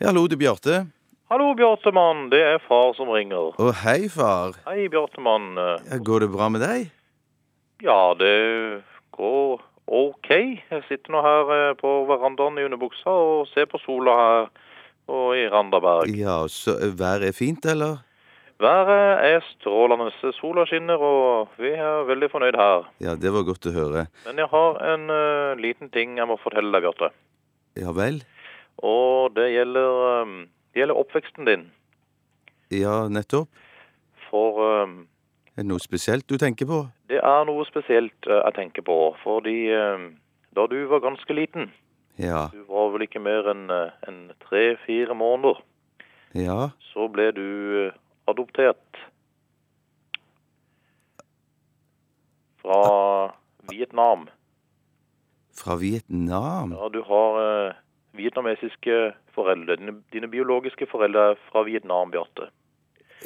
Ja, hallo, det er Bjarte. Hallo, Bjartemann. Det er far som ringer. Å, hei, far. Hei, Bjartemann. Eh, Ja, Går det bra med deg? Ja, det går OK. Jeg sitter nå her eh, på verandaen i underbuksa og ser på sola her og i Randaberg. Ja, så eh, været er fint, eller? Været er strålende. Sola skinner, og vi er veldig fornøyd her. Ja, det var godt å høre. Men jeg har en eh, liten ting jeg må fortelle deg, Bjarte. Ja vel? Og det gjelder, eh, det gjelder oppveksten din. Ja, nettopp. For eh, Er det noe spesielt du tenker på? det er noe spesielt eh, jeg tenker på. Fordi eh, da du var ganske liten Ja. Du var vel ikke mer enn eh, enn tre-fire måneder. Ja. Så ble du eh, adoptert fra Vietnam. Fra Vietnam? Ja, du har eh, vietnamesiske foreldre. Dine, dine biologiske foreldre er fra Vietnam, Bjarte.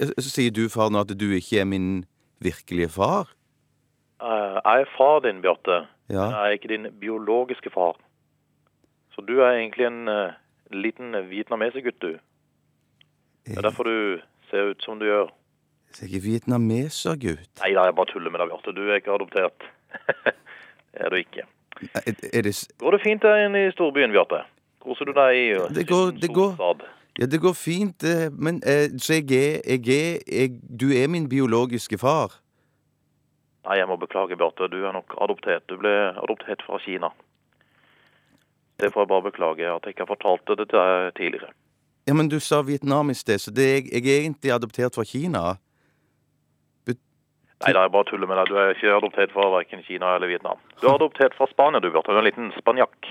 Eh, Så sier du, far, nå at du ikke er min virkelige far? Eh, jeg er far din, Bjarte. Ja. Jeg er ikke din biologiske far. Så du er egentlig en eh, liten vietnamesergutt, du. Det er Jeg derfor du ser ut som du gjør. jeg er ikke vietnameser, gutt. Nei da, jeg bare tuller med deg, Bjarte. Du er ikke adoptert. det er du ikke. Er, er det s- Går det fint der inne i storbyen, Bjarte? Koser du deg i eh, Det går- sin det går. solstad? Ja, det går fint, eh, men eh, så jeg er, jeg er jeg, Du er min biologiske far. Nei, jeg må beklage, Bjarte. Du er nok adoptert. Du ble adoptert fra Kina. Det får jeg bare beklage at jeg ikke har fortalt det til deg tidligere. Ja, men du sa Vietnam i sted, så det er, jeg er egentlig adoptert fra Kina. Nei da, jeg bare tuller med deg. Du er ikke adoptert fra verken Kina eller Vietnam. Du er adoptert fra Spania, du, Bjarte. Du er en liten spanjakk.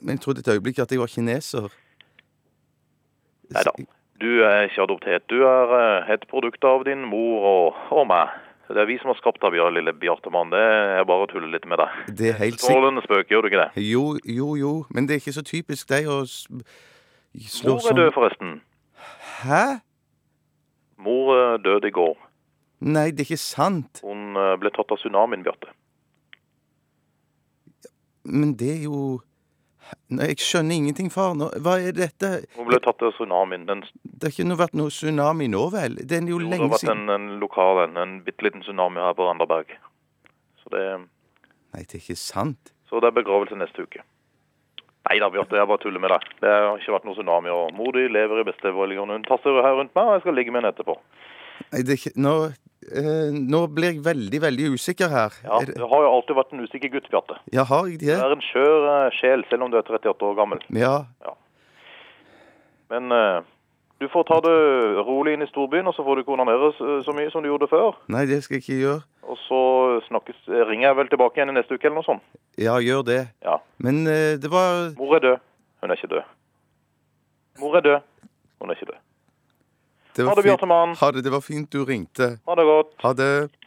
Men jeg trodde et øyeblikk at jeg var kineser. Nei da. Du eh, er ikke adoptert. Du er eh, et produkt av din mor og, og meg. Det er vi som har skapt deg, Bjar- lille Bjartemann. Det er bare å tulle litt med deg. Det er helt sikkert. Strålende spøk, gjør du ikke det? Jo, jo, jo. Men det er ikke så typisk deg å s- slå Mor er sånn død, forresten. Hæ? Mor eh, døde i går. Nei, det er ikke sant. Hun eh, ble tatt av tsunamien, Bjarte. Men det er jo Nei, Jeg skjønner ingenting, far. Nå, hva er dette? Hun ble tatt av tsunamien. Den, Det har ikke noe vært noe tsunami nå, vel? Det er jo jo, det har lenge vært siden en, en lokal en, en bitte liten tsunami her på Randaberg. Så det, Nei, det er ikke sant. så det er begravelse neste uke. Nei da, Bjarte, jeg bare tuller med deg. Det har ikke vært noen tsunami. Og mor di lever i beste velgående. Hun tasser her rundt meg, og jeg skal ligge med henne etterpå. Nei, det er ikke Nå, eh, nå blir jeg veldig, veldig usikker her. Ja, Er Du det- har jo alltid vært en usikker gutt, Bjarte. ja har jeg Du det? er en skjør eh, sjel, selv om du er 38 år gammel. Ja. Men eh, du får ta det rolig inn i storbyen, og så får du ikke onanere så- så mye som du gjorde før. Nei, det skal jeg ikke gjøre. Og så snakkes, ringer jeg vel tilbake igjen i neste uke eller noe sånt. Ja, gjør det. Ja. Men eh, det var Mor er død. Hun er ikke død. Mor er død. Hun er ikke død. det var Ha det, fint- Bjartemann. Ha det, det var fint du ringte. Ha det godt. Ha det.